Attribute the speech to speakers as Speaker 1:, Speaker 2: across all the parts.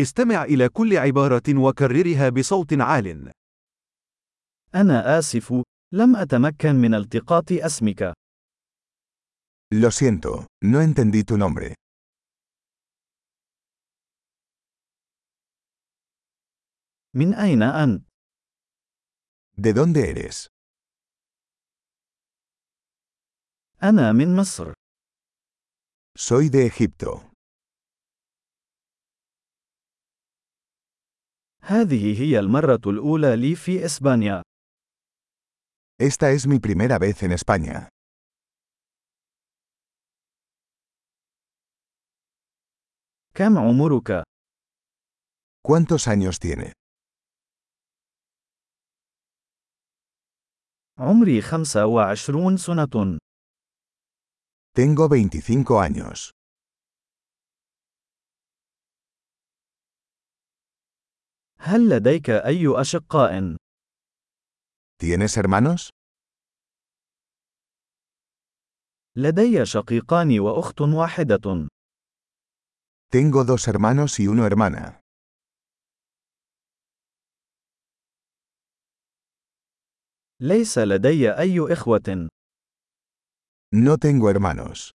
Speaker 1: استمع إلى كل عبارة وكررها بصوت عال.
Speaker 2: أنا آسف، لم أتمكن من التقاط اسمك.
Speaker 3: Lo siento, no entendí tu nombre.
Speaker 2: من أين أنت؟
Speaker 3: ¿De dónde eres?
Speaker 2: أنا من مصر.
Speaker 3: Soy de Egipto.
Speaker 2: هذه هي المرة الأولى لي في إسبانيا.
Speaker 3: Esta es mi primera vez en España.
Speaker 2: كم عمرك؟
Speaker 3: ¿Cuántos años tiene?
Speaker 2: عمري 25 سنة.
Speaker 3: Tengo 25 años.
Speaker 2: هل لديك أي أشقاء؟
Speaker 3: ¿Tienes hermanos?
Speaker 2: لدي شقيقان وأخت واحدة.
Speaker 3: Tengo dos hermanos y una hermana.
Speaker 2: ليس لدي أي إخوة.
Speaker 3: No tengo hermanos.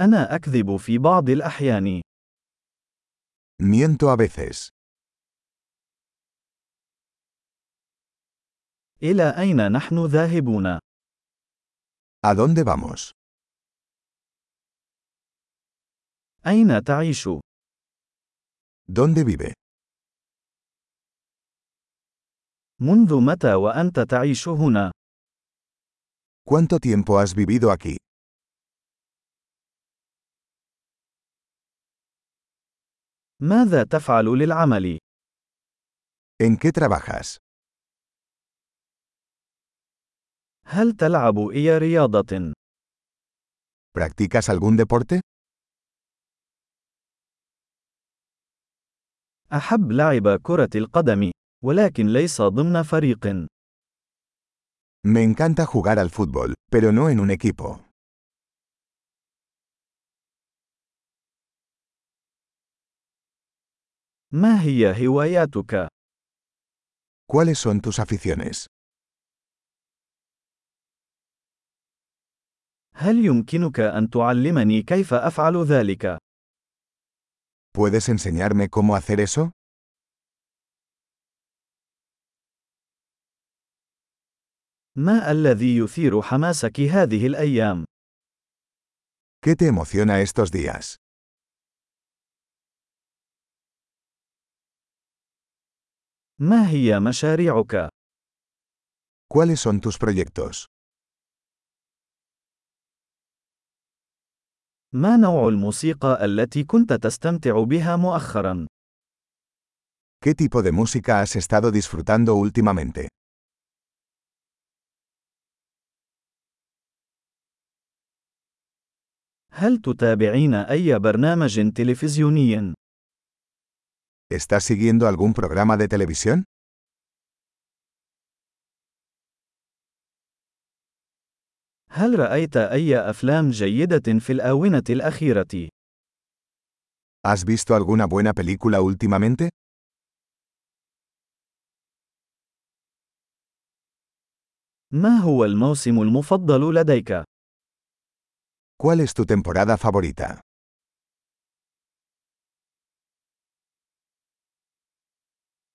Speaker 2: أنا أكذب في بعض الأحيان.
Speaker 3: Miento a veces.
Speaker 2: إلى أين نحن ذاهبون؟
Speaker 3: ¿A dónde vamos?
Speaker 2: أين تعيش؟
Speaker 3: ¿Dónde vive?
Speaker 2: منذ متى وأنت تعيش هنا؟
Speaker 3: ¿Cuánto tiempo has vivido aquí?
Speaker 2: ماذا تفعل للعمل؟
Speaker 3: ¿En qué trabajas?
Speaker 2: هل تلعب أي رياضة؟
Speaker 3: ¿Practicas algún deporte?
Speaker 2: أحب لعب كرة القدم، ولكن ليس ضمن فريق.
Speaker 3: Me encanta jugar al fútbol, pero no en un equipo.
Speaker 2: ما هي هواياتك؟
Speaker 3: ¿Cuáles son tus aficiones?
Speaker 2: هل يمكنك أن تعلمني كيف أفعل ذلك؟
Speaker 3: ¿Puedes enseñarme cómo hacer eso?
Speaker 2: ما الذي يثير حماسك هذه الأيام؟
Speaker 3: ¿Qué te emociona estos días?
Speaker 2: ما هي مشاريعك؟
Speaker 3: ¿Cuáles son tus proyectos?
Speaker 2: ما نوع الموسيقى التي كنت تستمتع بها مؤخرا؟
Speaker 3: ¿Qué tipo de música has estado disfrutando últimamente?
Speaker 2: هل تتابعين أي برنامج تلفزيوني؟
Speaker 3: ¿Estás siguiendo algún programa de televisión?
Speaker 2: هل رأيت أي أفلام جيدة في الآونة الأخيرة؟
Speaker 3: ¿Has visto alguna buena película últimamente?
Speaker 2: ما هو الموسم المفضل لديك؟
Speaker 3: ¿Cuál es tu temporada favorita?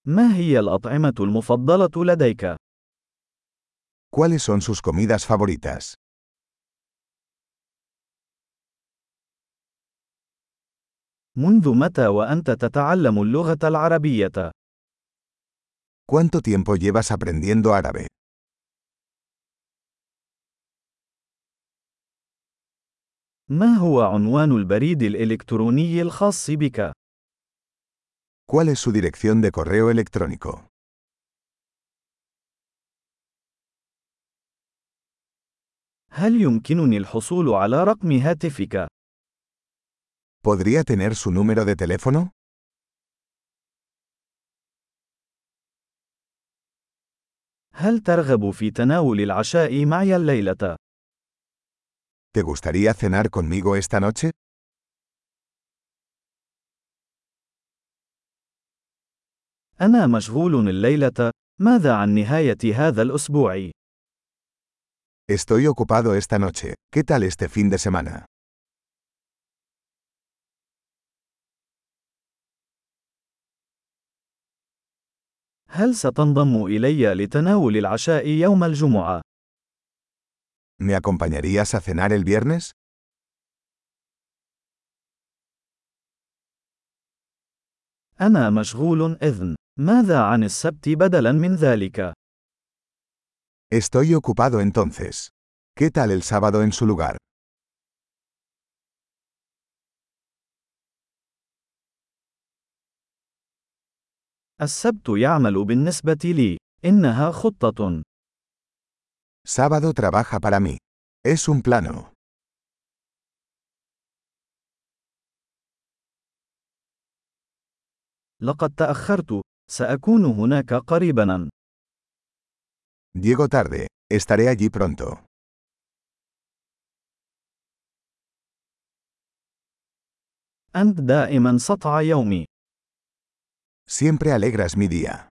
Speaker 2: ما هي الأطعمة المفضلة لديك؟
Speaker 3: ¿Cuáles son sus comidas favoritas?
Speaker 2: منذ متى وأنت تتعلم اللغة العربية؟
Speaker 3: ¿Cuánto tiempo llevas aprendiendo árabe?
Speaker 2: ما هو عنوان البريد الإلكتروني الخاص بك؟
Speaker 3: ¿Cuál es su dirección de correo electrónico?
Speaker 2: هل يمكنني الحصول على رقم هاتفك؟
Speaker 3: ¿Podría tener su número de teléfono?
Speaker 2: هل ترغب في تناول العشاء معي الليلة؟
Speaker 3: ¿Te gustaría cenar conmigo esta noche?
Speaker 2: أنا مشغول الليلة. ماذا عن نهاية هذا الأسبوع؟
Speaker 3: Estoy ocupado esta noche. ¿Qué tal este fin de semana?
Speaker 2: هل ستنضم إلي لتناول العشاء يوم الجمعة؟
Speaker 3: ¿Me acompañarías a cenar el viernes?
Speaker 2: أنا مشغول إذن. ماذا عن السبت بدلاً من ذلك؟
Speaker 3: Estoy ocupado entonces. ¿Qué tal el sábado en su lugar?
Speaker 2: السبت يعمل بالنسبة لي. إنها خطة.
Speaker 3: Sábado trabaja para mí. Es un plano.
Speaker 2: لقد تأخرت. سأكون هناك قريباً.
Speaker 3: Llego tarde. Estaré allí pronto.
Speaker 2: أنت دائماً سطع يومي.
Speaker 3: Siempre alegras mi día.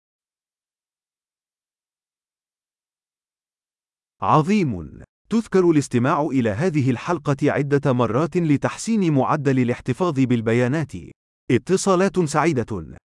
Speaker 1: عظيم تذكر الاستماع إلى هذه الحلقة عدة مرات لتحسين معدل الاحتفاظ بالبيانات اتصالات سعيدة